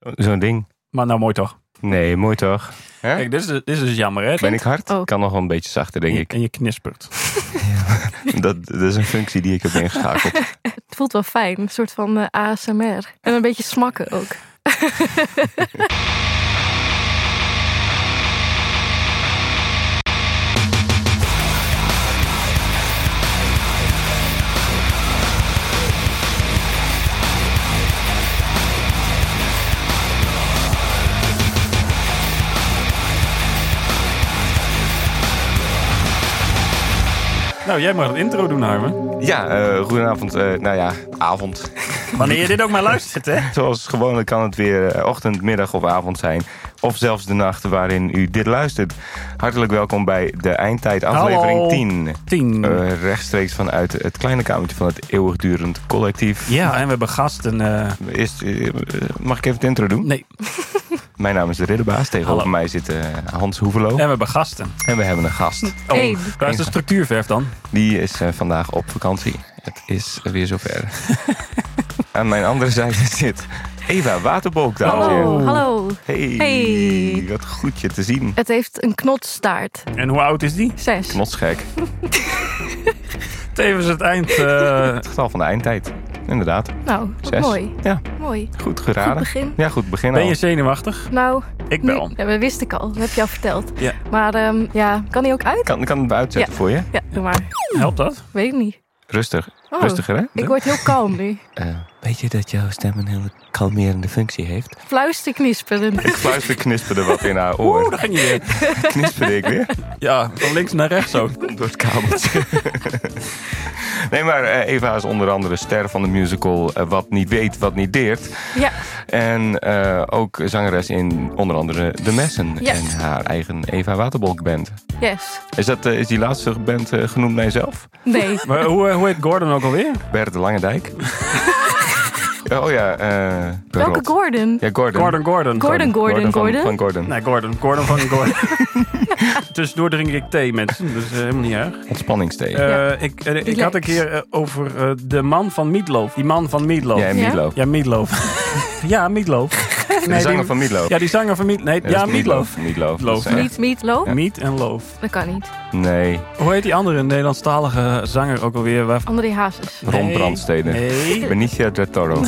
Zo'n ding. Maar nou, mooi toch? Nee, mooi toch? Hè? Kijk, dit is, dit is dus jammer, hè? Ben ik hard? Oh. Kan nog wel een beetje zachter, denk ik. En je knispert. Dat, dat is een functie die ik heb ingeschakeld. Het voelt wel fijn. Een soort van eh, ASMR. En een beetje smakken ook. Nou, jij mag het intro doen, Harmen. Ja, eh, goedenavond. eh, nou ja, avond. Wanneer je dit ook maar luistert, hè? Zoals gewoonlijk kan het weer eh, ochtend, middag of avond zijn. Of zelfs de nacht waarin u dit luistert. Hartelijk welkom bij de Eindtijd aflevering Hallo. 10. Tien. Eh, rechtstreeks vanuit het kleine kamertje van het eeuwigdurend collectief. Ja, en we hebben gasten. eh, Eerst, eh, eh, mag ik even het intro doen? Nee, Mijn naam is de Ridderbaas. Tegenover Hallo. mij zit eh, Hans Hoevelo. en we hebben gasten. En we hebben een gast. Oh, Eén. Waar is de structuurverf dan? Die is eh, vandaag op vakantie. Het is weer zover. Aan mijn andere zijde zit Eva Waterbolk, dames en heren. Hallo, hallo. Hey, Hey. wat goed je te zien. Het heeft een knotstaart. En hoe oud is die? Zes. Knotsgek. Tevens het eind. eh, Het getal van de eindtijd. Inderdaad. Nou, wat Zes. mooi. Ja, Mooi. goed geraden. Goed begin. Ja, goed begin ben al. je zenuwachtig? Nou, Ik nu- wel. ja, dat wist ik al. Dat heb je al verteld. Ja. Maar ehm, ja, kan die ook uit? Kan, kan het uitzetten voor je? Ja, doe maar. Helpt dat? Weet ik niet. Rustig. Oh, Rustiger, hè? Ik word heel kalm nu. Eh, weet je dat jouw stem een hele kalmerende functie heeft? Fluister knisperen. Ik fluister knisperde wat in haar Oeh, oor. daar ging je weer. Knisperde ik weer? Ja, van links naar rechts zo. Door het kabeltje. nee, maar eh, Eva is onder andere ster van de musical eh, Wat Niet Weet, Wat Niet Deert. Ja, En eh, ook zangeres in onder andere De Messen. Ja. En haar eigen Eva Waterbolk band. yes. Is, dat, eh, is die laatste band eh, genoemd naar jezelf? Nee. Maar hoe, eh, hoe heet Gordon ook alweer? Bert de Langendijk? oh ja, eh... Welke Gordon? Gordon? Ja, Gordon. Gordon Gordon. van- Gordon, Gordon, Gordon. Van Gordon. Nee, Gordon. Gordon van Gordon. Tussendoor drink ik thee, mensen. Dus eh, helemaal niet erg. Ontspanningsthee. Eh, ik, eh, ik Relax. had een keer eh, over eh, de man van Meatloaf. Die man van Meatloaf. ja, en Ja? Meatloaf. Ja, Meatloaf. ja, Meatloaf. de Nee, zanger die- van Meatloaf. Ja, die zanger van Meat... Nee, ja, dat is Meatloaf. Meatloaf. Loof. Dat is echt- Niet meat loaf? Meat en Loof. Dat kan niet. Nee, Hoe heet die andere Nederlandstalige zanger ook alweer? Waarvan... André Hazes. Ron Nee, Brandstede. Nee. Benicio del Toro.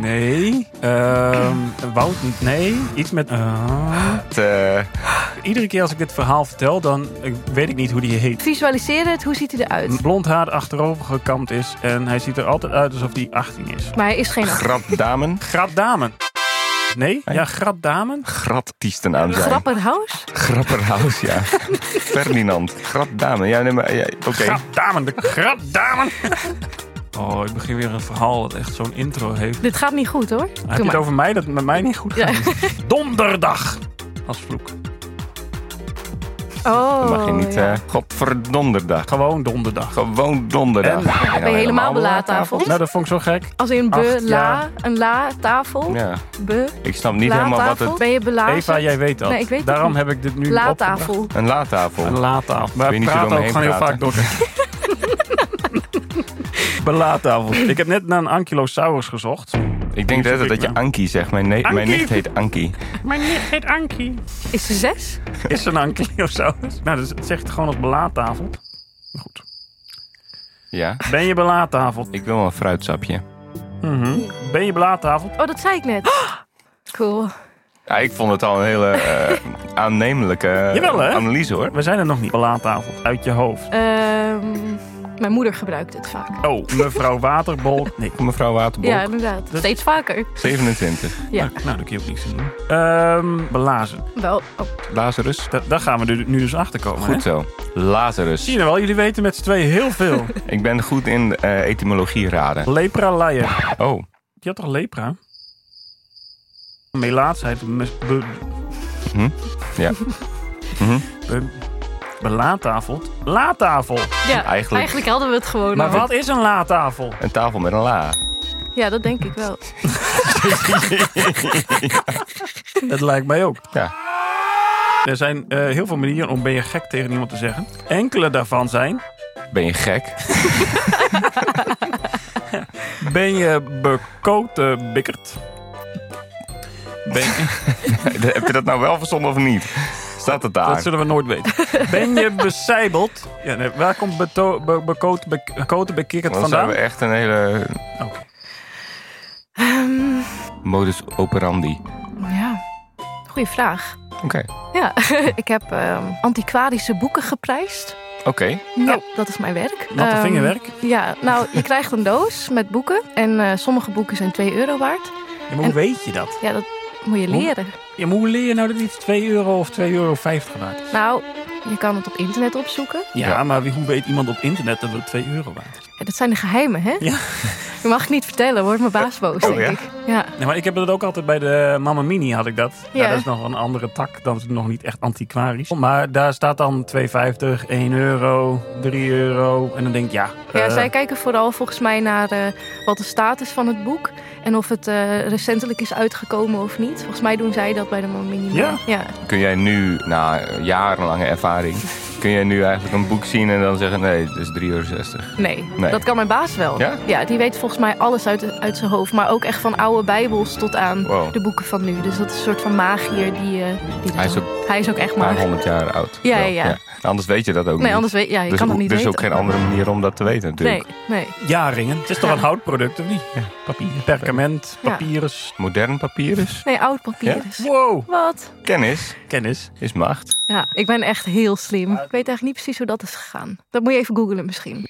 Nee. Ehm Wout... Nee. Iets met... eh, Het, eh, iedere keer als ik dit verhaal vertel, dan eh, weet ik niet hoe die heet. Visualiseer het, hoe ziet hij eruit? Blond haar achterover gekamd is en hij ziet er altijd uit alsof hij 18 is. Maar hij is geen Grapdamen. Grapdamen. Nee? Ja, Grapdamen. Grattiesten aan zijn. grapperhaus. Grapperhaus, ja. Ferdinand. Grapdamen. Ja, nee, maar... Ja, Oké. Grapdamen, de Grapdamen. Oh, ik begin weer een verhaal dat echt zo'n intro heeft. Dit gaat niet goed hoor. Heb je maar. het over mij? Dat het met mij niet goed Ja. gaat. Donderdag. Als vloek. Oh, Dan mag je niet... ja. eh godverdonderdag. Gewoon donderdag. Gewoon donderdag. En- Ben je nou Ben je helemaal belaatafeld? Nou, dat vond ik zo gek. Als in be, Acht, la, ja. een la, tafel. Ja, Be, ik snap niet la, helemaal wat tafel. het... Ben je belazerd? Eva, jij weet dat. Ah, Nee, ik weet het Daarom niet. heb ik dit nu La, opgebracht. tafel. Een laattafel. Een laattafel. Maar Kun je we niet praten ook eromheen gewoon heel praten? vaak door. Belaattafel. Ik heb net naar een ankylosaurus gezocht. Ik denk Hoe dat, zoek dat ik je nou? Ankie zegt. Mijn, ne- mijn Ankie! nicht heet Ankie. Mijn nicht heet Anki. Is ze zes? Is nou een ankylosaurus? Nou, dus het zegt gewoon als belaattafel. Maar Goed. Ja, Ben je belaattafel? ik wil wel een fruitsapje. Mhm. Ben je belaattafel? Oh, dat zei ik net. Cool. Ja, ik vond het al een hele eh, aannemelijke eh, Jawel, hè? analyse, hoor. We zijn er nog niet. Belaattafel. Uit je hoofd. Ehm, mijn moeder gebruikt het vaak. Oh, mevrouw Waterbolk. Nee. Mevrouw Waterbolk, Ja, inderdaad. Dat- Steeds vaker. 27. Ja. Nou, nou, daar kun je ook niks in doen. Ehm, belazen. Wel, oh, Lazarus. Da- daar gaan we nu, nu dus achter komen. Goed zo. Zie Lazarus. je nou wel, jullie weten met z'n tweeën heel veel. Ik ben goed in eh, etymologie raden. lepra laien. Oh, Je had toch lepra? Melaatsheid. mes- Be, Mhm. Ja. Mhm. Be, belaattafel. Laattafel. ja, Eigenlijk- eigenlijk... hadden we het gewoon. Maar al. wat is een laattafel? een tafel met een la. Ja, dat denk ik wel. Dat lijkt mij ook. Ja. Er zijn eh, heel veel manieren om ben je gek tegen iemand te zeggen. Enkele daarvan zijn... Ben je gek? Ben je bekoten bikkerd? Ben je- Heb je dat nou wel verzonnen of niet? Staat het daar? dat zullen we nooit weten. Ben je becijbeld? Ja, nee, waar komt beto- be- bekoot- be- bekoten bekikkerd Dan zijn vandaan? Oh, we echt een hele Oké. Ehm, modus operandi. ja, goeie vraag. Oké. Ja, ik heb ehm, antiquarische boeken geprijsd. Oké. Ja, dat is mijn werk. Nou. Natte Ehm, vingerwerk. Ja, nou, je krijgt een doos met boeken. En eh, sommige boeken zijn 2 euro waard. Ja, maar hoe en- weet je dat? Ja, dat moet je Hoe? leren. Ja, maar hoe leer je nou dat iets 2 euro of 2,50 euro waard is? Nou, je kan het op internet opzoeken. Ja, Ja. maar wie- hoe weet iemand op internet dat het 2 euro waard is? Ja, dat zijn de geheimen, hè? Ja. Oh, Die mag ik niet vertellen, wordt mijn baas boos, denk ja? ik. Ja. Nee, maar ik heb dat ook altijd bij de Mamma Mini had ik dat. Ja. Ja. dat is nog een andere tak, dan is het nog niet echt antiquarisch. Maar daar staat dan 2,50, 1 euro, 3 euro. En dan denk ik, ja, Ja, eh, zij kijken vooral volgens mij naar eh, wat de status van het boek en of het eh, recentelijk is uitgekomen of niet. Volgens mij doen zij dat bij de Mamini. Ja? ja. Kun jij nu, na jarenlange ervaring, kun jij nu eigenlijk een boek zien en dan zeggen: nee, dat is 3,60 euro? Nee. Nee. dat kan mijn baas wel. Ja? die weet volgens mij alles uit, uit zijn hoofd. Maar ook echt van oude bijbels tot aan Wow. de boeken van nu. Dus dat is een soort van magier die, eh die dat Hij is doet. Hij is ook echt Een paar magier. honderd jaar oud. Ja, Wel, ja. Anders weet je dat ook Nee, niet. anders weet ja, je dus kan dat hoe- niet er is weten. ook geen andere manier om dat te weten, natuurlijk. Nee, nee. jaringen. Het is toch Ja. een houtproduct, of niet? Ja, papier. Perkament, Ja. papyrus. Modern papier is Nee, oud papier Ja? is. Wow, Wat? kennis, kennis. is macht. Ja, ik ben echt heel slim. Ik weet eigenlijk niet precies hoe dat is gegaan. Dat moet je even googlen misschien.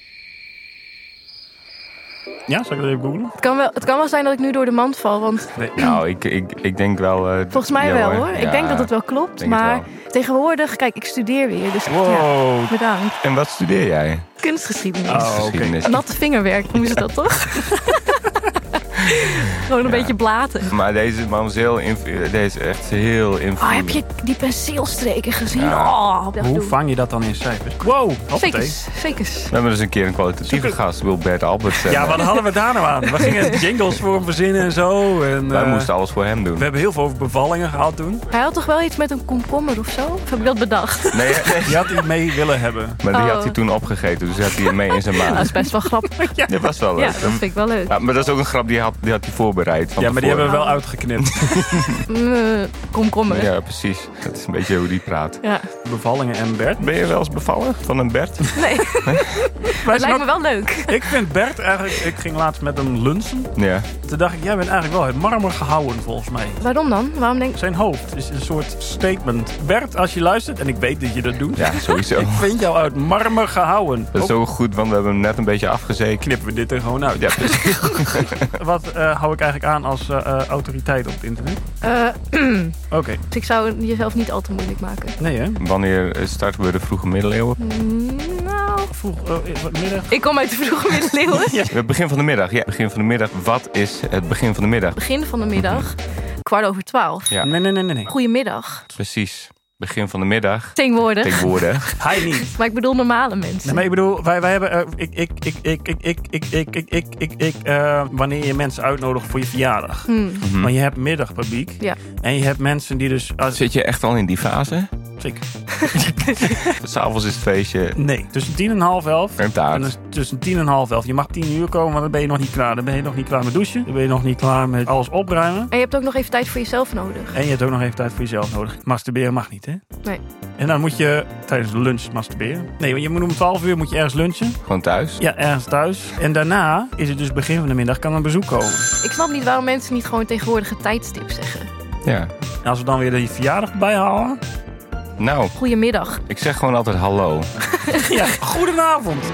Ja, zal ik dat even googlen? Het kan wel, het kan wel zijn dat ik nu door de mand val, want Nee. Nou, ik, ik, ik denk wel. eh, Volgens mij ja, wel hoor. Ja, Ik denk dat het wel klopt. denk het Maar tegenwoordig, kijk, ik studeer weer. Dus ja, Wow. bedankt. En wat studeer jij? Kunstgeschiedenis. Oh, oké. Geschiedenis. Natte vingerwerk noemen ze dat toch? Gewoon een beetje blaten. Maar deze man is, heel inv- eh, deze is echt heel Oh, invloedrijk. heb je die penseelstreken gezien? Oh, dat Hoe doen. vang je dat dan in cijfers? Wow, hoppatee. Zekers, zekers. We hebben dus een keer een kwalitatieve gast, ik bedoel Bert Albers. En, Ja, wat eh, hadden we daar nou aan? We gingen jingles voor hem verzinnen en zo. En, Wij eh, moesten alles voor hem doen. We hebben heel veel over bevallingen gehad toen. Hij had toch wel iets met een komkommer of zo? Of heb ik dat bedacht? Nee, nee. Je had die mee willen hebben. Maar die Oh. had hij toen opgegeten, dus had hij hem mee in zijn Dat is maag. best wel grappig. Ja, Dat was wel leuk. dat vind ik wel leuk. Ja, maar dat is ook een grap, die had, die had hij voorbereid. Van Ja, maar die tevoren. hebben we wel uitgeknipt. Mm, komkommer. Ja. Ja, precies. Dat is een beetje hoe die praat. Bevallingen en Bert. Ben je wel eens bevallen van een Bert? Nee, het Wij zijn lijkt me ook- wel leuk. Ik vind Bert eigenlijk... Ik ging laatst met hem lunchen. Ja. Toen dacht ik, jij bent eigenlijk wel het marmer gehouden volgens mij. Waarom dan? Waarom denk Zijn hoofd is een soort statement. Bert, als je luistert, en ik weet dat je dat doet... Ja, sowieso. Ik vind jou uit marmer gehouden. Dat is zo Ook goed, want we hebben hem net een beetje afgezeken. knippen we dit er gewoon uit. Ja, precies. Wat eh, hou ik eigenlijk aan als eh, eh, autoriteit op het internet? Eh, Oké, dus ik zou jezelf niet al te moeilijk maken. nee hè? Wanneer starten we de vroege middeleeuwen? Mm, nou, Vroeg, eh, wat middag? Ik kom uit de vroege middeleeuwen. Het begin van de middag. Ja, begin van de middag. Wat is het begin van de middag? Begin van de middag, kwart over twaalf. Ja. Nee, nee, nee, nee. nee. Goedemiddag. Precies. Begin van de middag. Tegenwoordig. Tegenwoordig. Hij niet. Maar ik bedoel normale Nee, mensen. maar ik bedoel, wij, wij hebben. eh, ik, ik, ik, ik, ik, ik, ik, ik, ik, ik, ik, ik, eh, wanneer je mensen uitnodigt voor je verjaardag. Hmm. Maar je hebt middagpubliek. Ja. En je hebt mensen die dus. Als, Zit je echt al in die fase? ik, S'avonds is het feestje. nee, tussen tien en half elf. Een En dan taart. is tussen tien en half elf. Je mag tien uur komen, want dan ben je nog niet klaar. Dan ben je nog niet klaar met douchen. Dan ben je nog niet klaar met alles opruimen. En je hebt ook nog even tijd voor jezelf nodig. En je hebt ook nog even tijd voor jezelf nodig. Masturberen mag niet, hè? Nee. En dan moet je tijdens de lunch masturberen. Nee, want je moet om 12 uur moet je ergens lunchen. Gewoon thuis. Ja, ergens thuis. En daarna is het dus begin van de middag, kan een bezoek komen. Ik snap niet waarom mensen niet gewoon tegenwoordig een tijdstip zeggen. Ja. En als we dan weer die verjaardag bijhalen. Nou, Goedemiddag. ik zeg gewoon altijd hallo. Ja, goedenavond.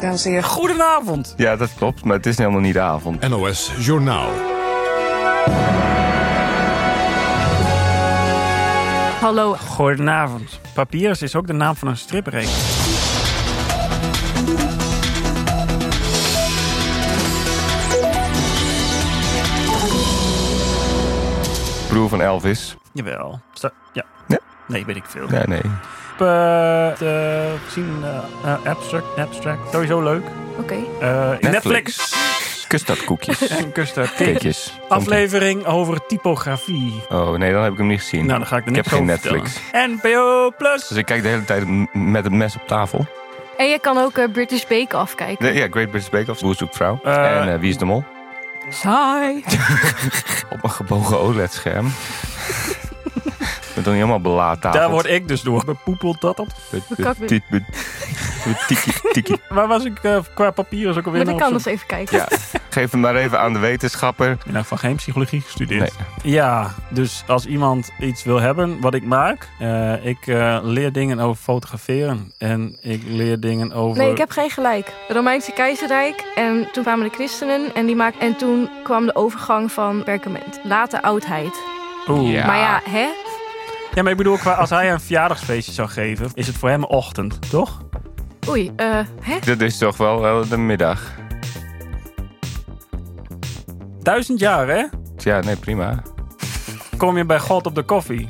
Dames en heren, Goedenavond. Ja, dat klopt, maar het is helemaal niet de avond. NOS Journaal. Hallo. Goedenavond. Papyrus is ook de naam van een stripreeks. Broer van Elvis. Jawel. Sta- ja. Ja? Nee, weet ik veel. Ja, nee. Eh, eh, gezien eh, eh, abstract, abstract. Sowieso leuk. Oké. Eh, Netflix. Custardkoekjes. En Kuster Keekjes. Aflevering over typografie. Oh nee, dan heb ik hem niet gezien. Nou, dan ga ik er Ik niks heb geen over Netflix. vertellen. NPO Plus. Dus ik kijk de hele tijd m- met het mes op tafel. En je kan ook eh, British Bake afkijken. De- ja, Great British Bake Off. Hoe zoekt vrouw? Eh, en eh, Wie is de mol? Saai. Op een gebogen OLED-scherm. We doen helemaal belaat Daar word ik dus door bepoepeld dat op. Tiki, tiki. Waar was ik eh, qua papieren ook alweer Maar dan naar kan op eens zoek? even kijken. Ja, geef hem maar even aan de wetenschapper. Ik ben eigenlijk van geen psychologie gestudeerd. Nee. Ja, dus als iemand iets wil hebben wat ik maak, eh, ik eh, leer dingen over fotograferen en ik leer dingen over. Nee, ik heb geen gelijk. Het Romeinse keizerrijk en toen kwamen de christenen en die maakten... En toen kwam de overgang van perkament. Late oudheid. Oeh. Ja. Maar ja, hè? Ja, maar ik bedoel, qua, als hij een verjaardagsfeestje zou geven, is het voor hem ochtend, toch? Oei, eh, hè? Dat is toch wel wel de middag. Duizend jaar, hè? Ja, nee, prima. Kom je bij God op de koffie.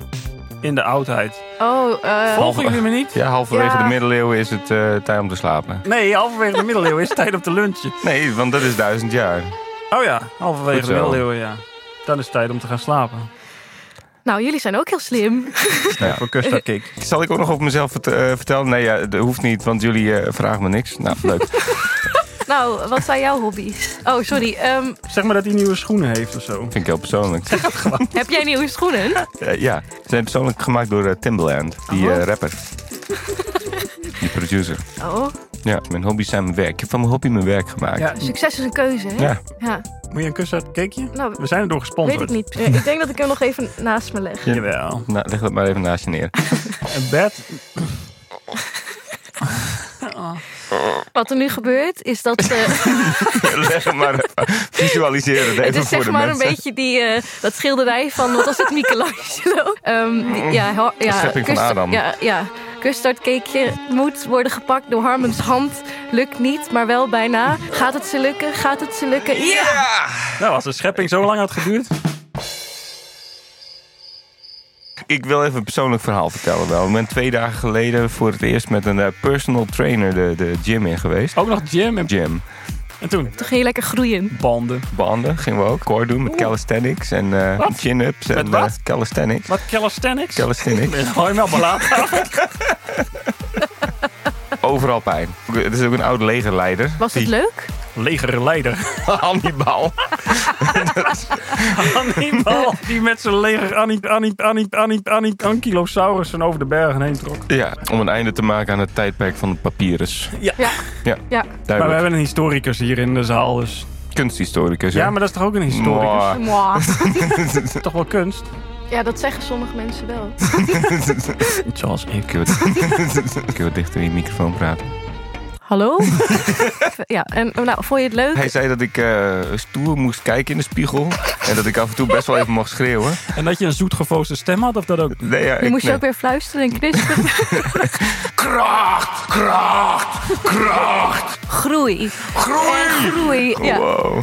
In de oudheid. Oh, eh... Volgen jullie me niet? Ja, halverwege Ja. de middeleeuwen is het eh, tijd om te slapen. Nee, halverwege de middeleeuwen is het tijd om te lunchen. Nee, want dat is duizend jaar. Oh ja, halverwege Goed de zo. middeleeuwen, ja. Dan is het tijd om te gaan slapen. Nou, jullie zijn ook heel slim. Ja. Voor Kusta Kik. Zal ik ook nog op mezelf vert- eh, vertellen? Nee, ja, dat hoeft niet, want jullie eh, vragen me niks. Nou, leuk. nou, wat zijn jouw hobby's? Oh, sorry. ehm, Zeg maar dat hij nieuwe schoenen heeft of zo. Vind ik heel persoonlijk. heb jij nieuwe schoenen? Eh, ja, ze zijn persoonlijk gemaakt door eh, Timbaland, die Oh. eh, rapper. Die producer. Oh, Ja, mijn hobby's zijn mijn werk. Ik heb van mijn hobby mijn werk gemaakt. Ja, succes is een keuze, hè? Ja. ja. moet je een Kusta Kikje? Nou, We zijn erdoor weet gesponsord. ik niet. Eh, Ik denk dat ik hem nog even naast me leg. Ja. Jawel. Nou, leg dat maar even naast je neer. Een bed. Wat er nu gebeurt, is dat... eh, leg het maar even. Visualiseer het even Het is voor zeg de maar mensen. een beetje die, eh, dat schilderij van, wat was het, Michelangelo? Ehm, die- ja, ho- ja, schepping van custard- Adam. Ja, ja. Custardcakeje moet worden gepakt door Harmens hand. Lukt niet, maar wel bijna. Gaat het ze lukken? Gaat het ze lukken? Ja! Nou, als de schepping zo lang had geduurd. Ik wil even een persoonlijk verhaal vertellen wel. Ik ben twee dagen geleden voor het eerst met een eh, personal trainer de, de gym in geweest. Ook nog Jim en, Gym. en toen Toen ging je lekker groeien. banden. Banden gingen we ook. Core doen met calisthenics en eh, Wat? chin-ups. en wat? eh, calisthenics. Wat calisthenics? Calisthenics. Hou je me al belaten? Overal pijn. Het is ook een oud legerleider. Was het Die- leuk? Legerleider. Hannibal. Hannibal. Die met zijn leger Annie, Annie, Annie, Annie, Annie, Ankylosaurussen over de bergen heen trok. Ja, om een einde te maken aan het tijdperk van de papyrus. Ja. Ja. Ja, Maar we Duidelijk. hebben een historicus hier in de zaal, dus... Kunsthistoricus. Ja, hè? maar dat is toch ook een historicus? Mwah. Mwah. Dat is toch wel kunst? ja dat zeggen sommige mensen wel. Zoals ik. Kun je wat- kun je wat dichter in je microfoon praten? Hallo? ja, en eh, nou, vond je het leuk? Hij zei dat ik eh, stoer moest kijken in de spiegel. En dat ik af en toe best wel even mocht schreeuwen. En dat je een zoetgevoosde stem had, of dat ook? Nee, ja, Je ik- moest je nee. ook weer fluisteren en knisperen. Kracht, kracht, kracht, Groei. groei. Groei. Ja. Wow.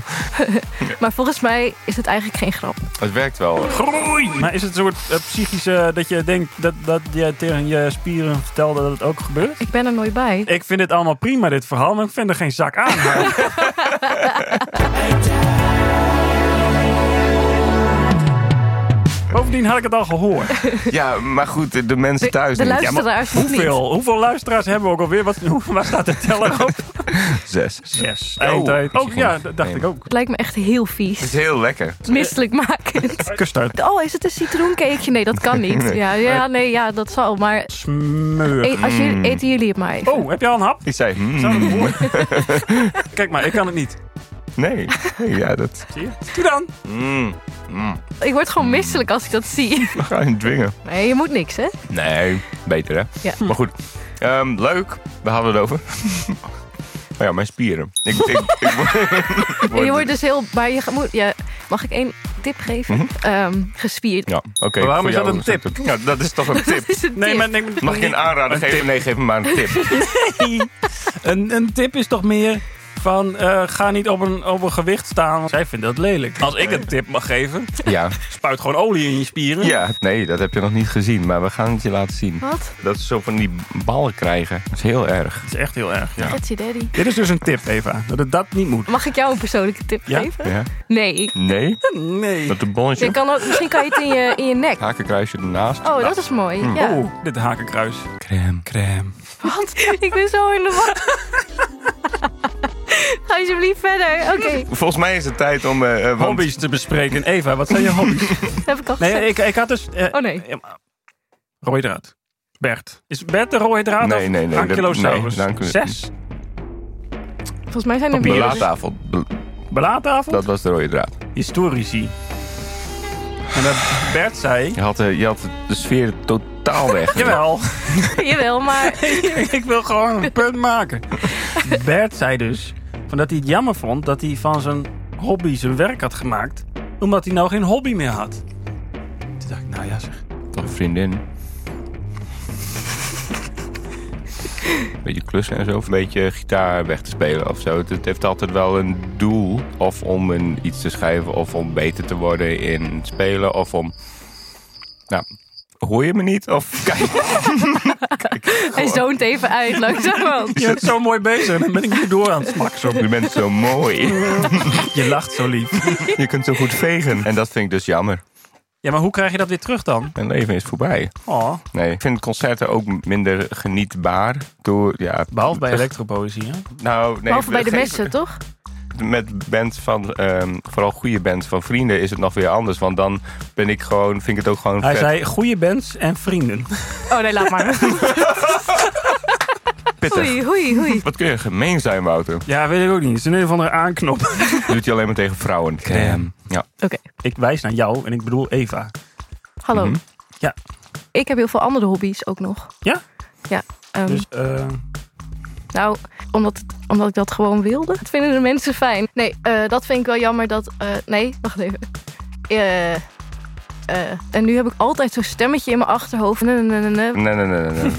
Maar volgens mij is het eigenlijk geen grap. Het werkt wel. Groei! Maar is het een soort eh, psychische... dat je denkt dat, dat je tegen je spieren vertelde dat het ook gebeurt? Ik ben er nooit bij. Ik vind dit allemaal prima, dit verhaal, maar ik vind er geen zak aan. Bovendien had ik het al gehoord. Ja, maar goed, de mensen thuis de niet. luisteraars nog niet. Hoeveel, hoeveel luisteraars hebben we ook alweer? Wat, hoe- waar staat de teller op? Zes. Zes. Oh. Eindtijd. Ook ja, dat dacht Nee. ik ook. Het lijkt me echt heel Het is vies. heel lekker. Misselijkmakend. Kustart. Oh, is het een citroencakeje? Nee, dat kan niet. Ja, ja nee, ja, dat zal. Maar Smeur. e- als jullie, eten jullie het maar even. Oh, heb je al een hap? Ik zei, hmm, Zou dat horen? Kijk maar, ik kan het niet. nee. Nee, Ja, dat... Zie je? Doe dan. Hmm, hmm. Ik word gewoon misselijk als ik dat zie. We gaan je niet dwingen. Nee, je moet niks, hè? Nee, beter hè? Ja. Maar goed, Ehm, leuk. We hadden het over. oh ja, mijn spieren. Ik, ik, ik, ik word- Je wordt dus heel... Maar je moet, ja, mag ik één tip geven? Ehm, gespierd. Ja, oké. Maar waarom voor is dat jou een tip? het- Ja, dat is toch een tip. Dat is een Nee, tip. maar, nee, maar- Mag ik een aanrader geven? Nee, geef me maar een tip. een, een tip is toch meer van eh, ga niet op een, op een gewicht staan. Zij vindt dat lelijk. Als ik een tip mag geven, Ja. spuit gewoon olie in je spieren. ja, nee, dat heb je nog niet gezien, maar we gaan het je laten zien. Wat? Dat ze zo van die ballen krijgen. Dat is heel erg. Dat is echt heel erg. Ja. That's your daddy. Dit is dus een tip, Eva. Dat het dat niet moet. Mag ik jou een persoonlijke tip Ja. geven? Ja? Nee. ik- Nee? Nee. Met een bonnetje. Je kan ook, misschien kan je het in je, in je nek. Hakenkruisje ernaast. Oh, dat is mooi. Ja. Oh, dit hakenkruis. Crème. Crème. Wat? Ik ben zo in de war. Ga alsjeblieft verder. Oké, Volgens mij is het tijd om... eh, eh, want- Hobby's te bespreken. Eva, wat zijn je hobby's? heb ik al gezegd. Nee, ik, ik had dus... eh, Oh, nee. eh, Rode draad. Bert. Is Bert de rode draad Nee, of nee, nee, dat- Ankylosaurus? nee, dank u. Zes. Volgens mij zijn er Papier. bieren. Belaattafel. Be- Belaadtafel. Dat was de rode draad. Historici. En dat Bert zei... Je had, eh, je had de sfeer totaal weg. Jawel. Jawel, maar ik wil gewoon een punt maken. Bert zei dus van dat hij het jammer vond dat hij van zijn hobby zijn werk had gemaakt. Omdat hij nou geen hobby meer had. Toen dacht ik, nou ja zeg. Toch een vriendin. Beetje klussen en zo. Of een beetje gitaar weg te spelen of zo. Het, het heeft altijd wel een doel. Of om een, iets te schrijven. Of om beter te worden in spelen. Of om... Nou, hoor je me niet? Of kijk. hij zoont even uit langzamerhand. Je bent zo mooi bezig en dan ben ik weer door aan het smakken. zo. Je bent zo mooi. Je lacht zo lief. Je kunt zo goed vegen. En dat vind ik dus jammer. Ja, maar hoe krijg je dat weer terug dan? Mijn leven is voorbij. Oh, Nee, ik vind concerten ook minder genietbaar. Door, ja, behalve bij elektropoëzie. Hè? Nou, nee, Behalve bij de geef- mensen, toch? Met bands van, ehm, vooral goede bands van vrienden, is het nog weer anders. Want dan ben ik gewoon, vind ik het ook gewoon Hij vet zei goede bands en vrienden. Oh nee, laat maar. pittig. Hoei, hoei, hoei. Wat kun je gemeen zijn, Wouter? Ja, weet ik ook niet. Het is een of andere aanknop. Dat doet hij alleen maar tegen vrouwen. Damn. Ja. Oké, Ik wijs naar jou en ik bedoel Eva. hallo. Mhm. Ja. Ik heb heel veel andere hobby's ook nog. Ja? Ja. ehm, Dus eh, Nou, omdat, omdat ik dat gewoon wilde. Dat vinden de mensen fijn. Nee, eh, dat vind ik wel jammer dat... eh, nee, wacht even. Eh, eh, en nu heb ik altijd zo'n stemmetje in mijn achterhoofd. Nee, nee, nee, nee, Nee, nee, nee, nee,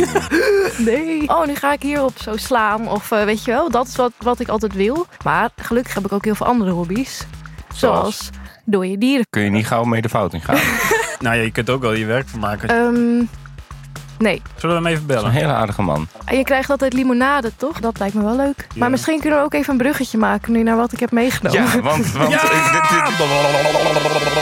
nee. nee. Oh, nu ga ik hierop zo slaan. Of eh, weet je wel, dat is wat, wat ik altijd wil. Maar gelukkig heb ik ook heel veel andere hobby's. Zoals door je dieren. Kun je niet gauw mee de fout in gaan. Dat nou ja, je kunt ook wel je werk van maken. Ehm, nee. Zullen we hem even is een bellen? hele aardige man. En je krijgt altijd limonade, toch? Dat lijkt me wel leuk. Ja. Maar misschien kunnen we ook even een bruggetje maken nu naar wat ik heb meegenomen. Ja, want, want Ja! ik- dit-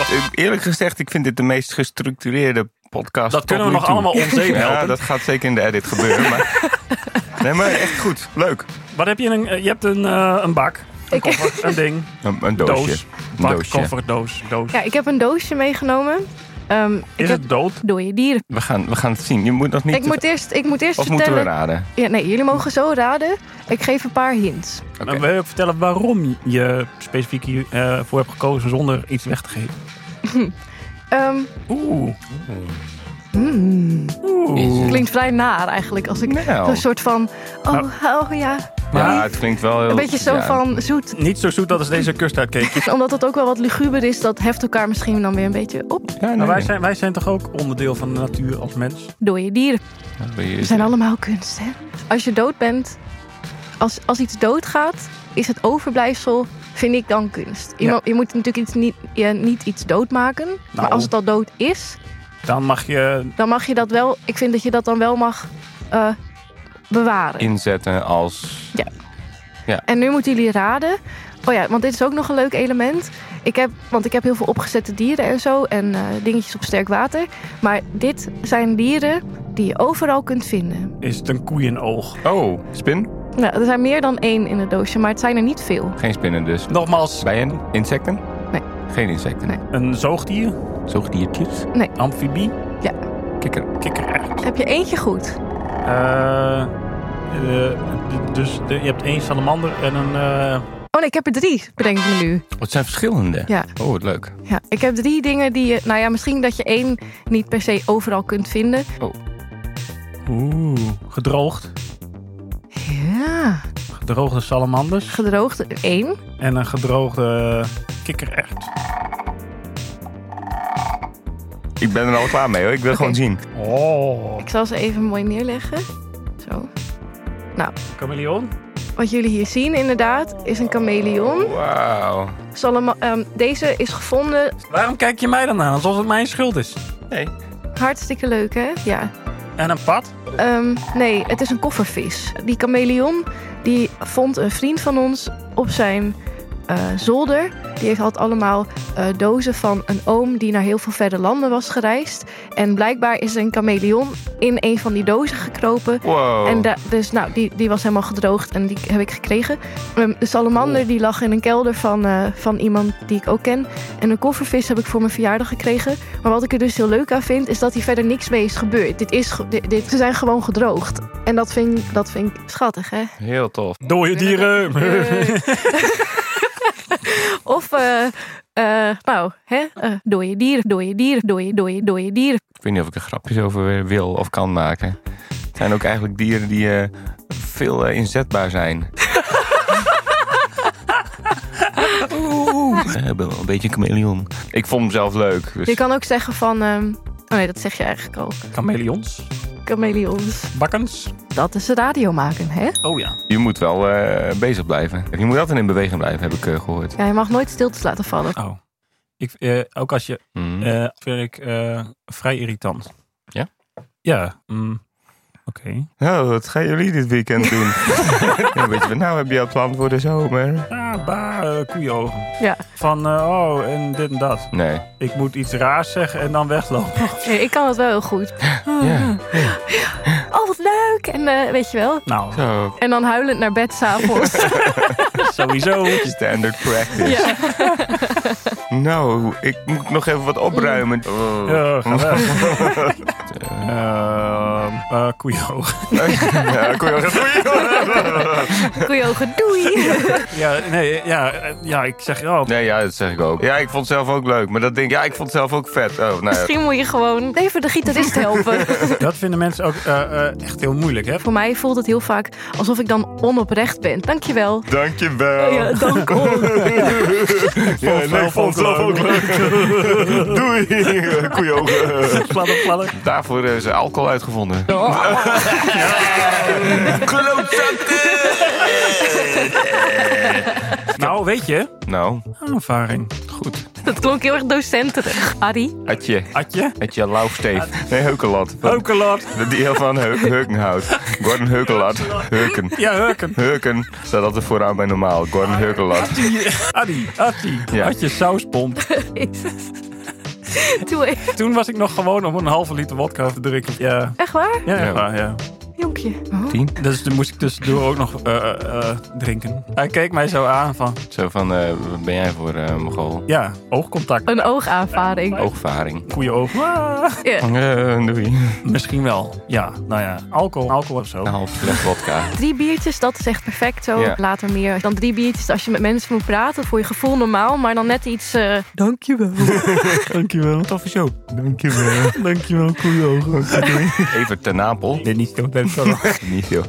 dit- eerlijk gezegd, ik vind dit de meest gestructureerde podcast Dat tot kunnen we nu nog toe. allemaal ons heen Ja, helpen. dat gaat zeker in de edit gebeuren. Maar... Nee, maar echt goed. Leuk. Wat heb je? in Een, eh, je hebt een, eh, een bak, een koffer, een ding, Een, een doosje. doos. Een Bak, doosje. koffer, doos, doos. Ja, ik heb een doosje meegenomen. Ehm, ik Is heb het dood? door je dieren. We gaan, we gaan het zien. Je moet nog niet. Ik moet eerst, ik moet eerst of moeten we vertellen. raden? Ja, nee, jullie mogen zo raden. Ik geef een paar hints. Oké. Maar Eh, wil je ook vertellen waarom je specifiek hiervoor voor hebt gekozen zonder iets weg te geven? Ehm, Oeh. mm, Oeh. klinkt vrij naar eigenlijk. Als ik Nou. een soort van. Nou. Oh, oh ja. Ja, Maar het klinkt wel heel. Een beetje zo ja. van zoet. niet zo zoet dat als deze kust uitkeek. Nou, Omdat het ook wel wat luguber is, dat heft elkaar misschien dan weer een beetje op. Ja, nee, Maar wij nee. zijn, wij zijn toch ook onderdeel van de natuur als mens? Door je dieren. Ja, wil je- We zijn allemaal kunst, hè? Als je dood bent, als, als iets doodgaat, is het overblijfsel, vind ik dan kunst. Je, Ja. mo- je moet natuurlijk iets niet, je, niet iets doodmaken. Maar als het al dood is, Dan mag je... dan mag je dat wel. Ik vind dat je dat dan wel mag eh, bewaren. Inzetten als. En nu moeten jullie raden. Oh ja, want dit is ook nog een leuk element. Ik heb, want ik heb heel veel opgezette dieren en zo. En eh, dingetjes op sterk water. Maar dit zijn dieren die je overal kunt vinden. Is het een koeienoog? Oh, spin? Nou, er zijn meer dan één in het doosje, maar het zijn er niet veel. Geen spinnen dus. Nogmaals, Bijen? Insecten? Nee. Geen insecten. Nee. een zoogdier, Zoogdiertjes? amfibie, Kikker. kikkererwt. Heb je eentje goed? Eh, eh, d- dus de- je hebt één salamander en een... eh, Oh nee, ik heb er drie, bedenk ik me nu. Oh, het zijn verschillende. Ja. Oh, wat leuk. Ja, ik heb drie dingen die je... Nou ja, misschien dat je één niet per se overal kunt vinden. Oeh, gedroogd. Ja, Gedroogde salamanders gedroogd één. en een gedroogde kikkererwt. Ik ben er al klaar mee hoor. Ik wil Oké. gewoon zien. Oh. Ik zal ze even mooi neerleggen. Zo. Chameleon? Wat jullie hier zien inderdaad is een chameleon. Wauw. Salama- ehm, deze is gevonden. Waarom kijk je mij dan aan alsof het mijn schuld is? Nee. Hartstikke leuk, hè? Ja. En een pad? Ehm, nee, het is een koffervis. Die chameleon die vond een vriend van ons op zijn eh, zolder. Die had allemaal eh, dozen van een oom die naar heel veel verre landen was gereisd. En blijkbaar is een chameleon in een van die dozen gekropen. Wow. En da- dus nou, die, die was helemaal gedroogd en die heb ik gekregen. Ehm, de salamander die lag in een kelder van, eh, van iemand die ik ook ken. En een koffervis heb ik voor mijn verjaardag gekregen. Maar wat ik er dus heel leuk aan vind, is dat hier verder niks mee is gebeurd. Dit is, ge- dit, dit- ze zijn gewoon gedroogd. En dat vind, ik- dat vind ik schattig, hè? Eh. Heel tof. Dooie dieren. Of, eh, eh, nou, hè? eh dode dieren, dode dieren, dode, dode, dode dieren. Ik weet niet of ik er grapjes over wil of kan maken. Het zijn ook eigenlijk dieren die eh, veel eh, inzetbaar zijn. Eh, Ik ben wel een beetje een chameleon. Ik vond hem zelf leuk. Dus Je kan ook zeggen van... ehm, oh nee, dat zeg je eigenlijk al. Chameleons. Chameleons. Bakkens. Dat is radio maken, hè? Oh ja. je moet wel eh, bezig blijven. Je moet altijd in beweging blijven, heb ik eh, gehoord. Ja, je mag nooit stiltes laten vallen. Oh. Ik, eh, ook als je... Mm. eh vind ik eh, vrij irritant. Ja? Ja. mm, Oké. Nou, wat gaan jullie dit weekend doen? een beetje van, nou heb je al plan voor de zomer? Ah, bah, eh, koeienogen. Ja. Van, eh, oh, en dit en dat. Nee. Ik moet iets raars zeggen en dan weglopen. Nee, ik kan dat wel heel goed. Ja. Oh, wat leuk! En eh, weet je wel. Nou, Zo, En dan huilend naar bed s'avonds. sowieso. standard practice. ja. Nou, ik moet nog even wat opruimen. Oh. Ja, ga weg. Eh, eh, koeienogen. ja, ik kon je wel zeggen, Koeiogen, doei! Ja, nee, ja, eh, ja, ik zeg ja. Nee, ja, dat zeg ik ook. Ja, ik vond het zelf ook leuk. Maar dat denk ik, ja, ik vond het zelf ook vet. Oh, nou ja. Misschien moet je gewoon even de gitarist helpen. Dat vinden mensen ook eh, eh, echt heel moeilijk, hè? Voor mij voelt het heel vaak alsof ik dan onoprecht ben. Dankjewel. Dankjewel. Oh, Ja, dank Ja, nee, ik vond het zelf ook leuk. Doei, koeiogen. Pladder, pladder. Daarvoor is alcohol uitgevonden. Oh. Klootzak. Nou, weet je, Nou, ervaring. goed. Dat klonk heel erg docenterig. Harry? Atje. Atje, Atje Laufsteef. Nee, Heukelat. Oh. Van- Heukelot. De deel van Heu- Heukenhout. Gordon Heukelat. Heuken. Ja, Heuken. Heuken staat altijd vooraan bij normaal. Gordon Heukelat. Adi, Atje. Ja. Atje sauspomp. Jezus. Doe even. Toen was ik nog gewoon om een halve liter wodka te drinken. Ja, Echt waar? ja, Ja. ja. ja, Jonkje. Oh. Dus toen moest ik tussendoor ook nog eh, eh, eh, drinken. Hij keek mij zo aan van, Zo van, eh, wat ben jij voor eh Mogol? ja, oogcontact. Een oogaanvaring. Oogvaring. Goeie oog. Ah. Eh, doei. Misschien wel. Ja, nou ja. Alcohol, alcohol of zo. Een half fles vodka. Drie biertjes, dat is echt perfect zo. Ja. Later meer dan drie biertjes als je met mensen moet praten. Voor je gevoel normaal, maar dan net iets... eh, Dankjewel. Dankjewel. Toffe show. Dankjewel. Dankjewel, goeie ogen. Even ten Napel. Dit niet zo best wel. Niet veel.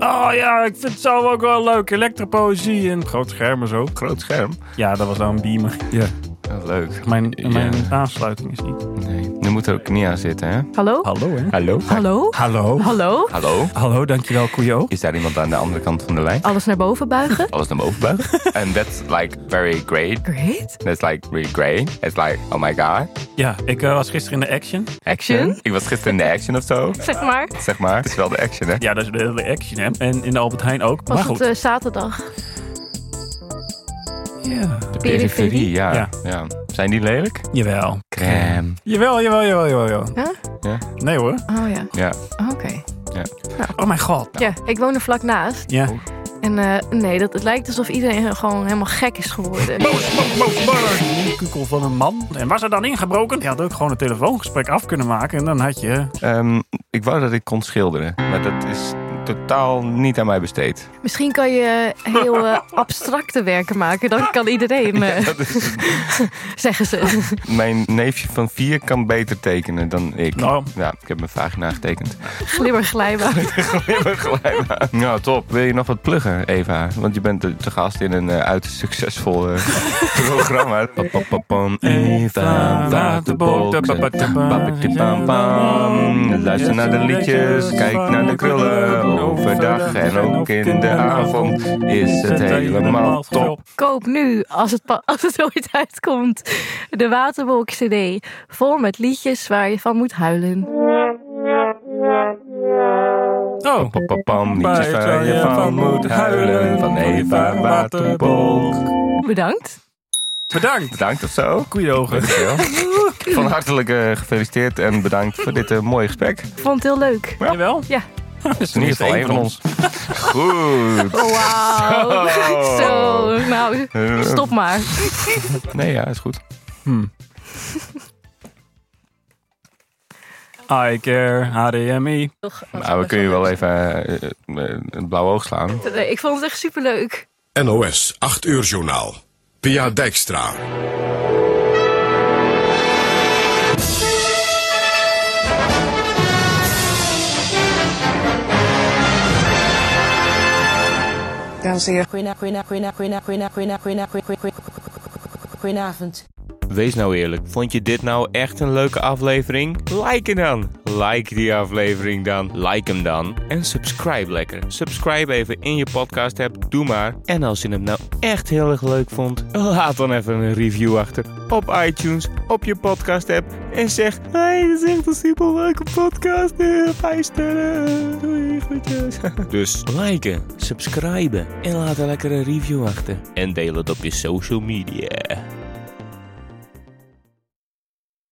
Oh ja, ik vind het zelf ook wel leuk. Elektropoëzie en groot scherm en zo. Groot scherm. Ja, dat was dan een beamer. Ja. Ja, leuk. Mijn, Ja. mijn aansluiting is niet. Nee. Nu moet er ook niet aan zitten, hè? Hallo? Hallo, hè? Hallo? Hallo? Hallo. Hallo? Hallo? Hallo, dankjewel, Koejo. Is daar iemand aan de andere kant van de lijn? Alles naar boven buigen? Alles naar boven buigen. And that's like very great. Great. That's like really great. It's like, oh my god. Ja, ik eh, was gisteren in de action. Action? Ik was gisteren in de action of zo. Zeg maar. Zeg maar. Het is wel de action, hè? Ja, dat is de hele action, hè? En in de Albert Heijn ook. Was maar het goed. eh, zaterdag? eh, Ja. Periferie, ja. ja. Ja. Zijn die lelijk? Jawel. Crème. Jawel, jawel, jawel, jawel. jawel. Huh? Ja. Nee hoor. Oh ja, Ja. oké. Oh mijn god. Ja, ik woon er vlak naast. Ja. En eh, nee, dat, het lijkt alsof iedereen gewoon helemaal gek is geworden. Een kukel van een man. En was er dan ingebroken? Je had ook gewoon een telefoongesprek af kunnen maken. En dan had je... Ehm, ik wou dat ik kon schilderen, maar dat is totaal niet aan mij besteed. Misschien kan je heel eh, abstracte werken maken. Dan kan iedereen, eh, Dat is- zeggen ze. mijn neefje van vier kan beter tekenen dan ik. Nou. Ja, ik heb mijn vagina getekend. Glimmerglijbaan. Nou, top. Wil je nog wat pluggen, Eva? Want je bent de, de gast in een eh, uiterst succesvol eh, Eh, programma. Papapapam, Eva, waterboxen. Babakibabam. Luister naar de liedjes, kijk naar de krullen. Overdag en ook in de avond is het helemaal top. Koop nu, als het, pa- als het ooit uitkomt, de Waterwolk CD. Vol met liedjes waar je van moet huilen. Oh. Papapam, niet Waar waar je van moet huilen. Van Eva Waterbolk. Bedankt. Bedankt. Bedankt of zo. Goeie ogen. Dankjewel. Van hartelijk eh, gefeliciteerd en bedankt voor dit eh, mooie gesprek. Ik vond het heel leuk. Ja. Jawel? Ja. Dat is In ieder geval één van ons. Goed. Wauw. Zo. Zo, nou, Eh, stop maar. Nee, ja, is goed. I care, HDMI. Maar we kunnen je wel even eh, eh, een blauw oog slaan. Nee, Ik vond het echt superleuk. NOS 8 uur journaal. Pia Dijkstra. Dames en heren. Goedenavond. Goedenavond. Goedenavond. Goedenavond. Goedenavond. Goedenavond. Wees nou eerlijk, vond je dit nou echt een leuke aflevering? Like hem dan! Like die aflevering dan, like hem dan. En subscribe lekker. Subscribe even in je podcast app, doe maar. En als je hem nou echt heel erg leuk vond, laat dan even een review achter. Op iTunes, op je podcast app. En zeg, hey, dit is echt een super leuke podcast. Eh, Vijf sterren, doei, groetjes. Dus liken, subscriben en laat er lekker een review achter. En deel het op je social media.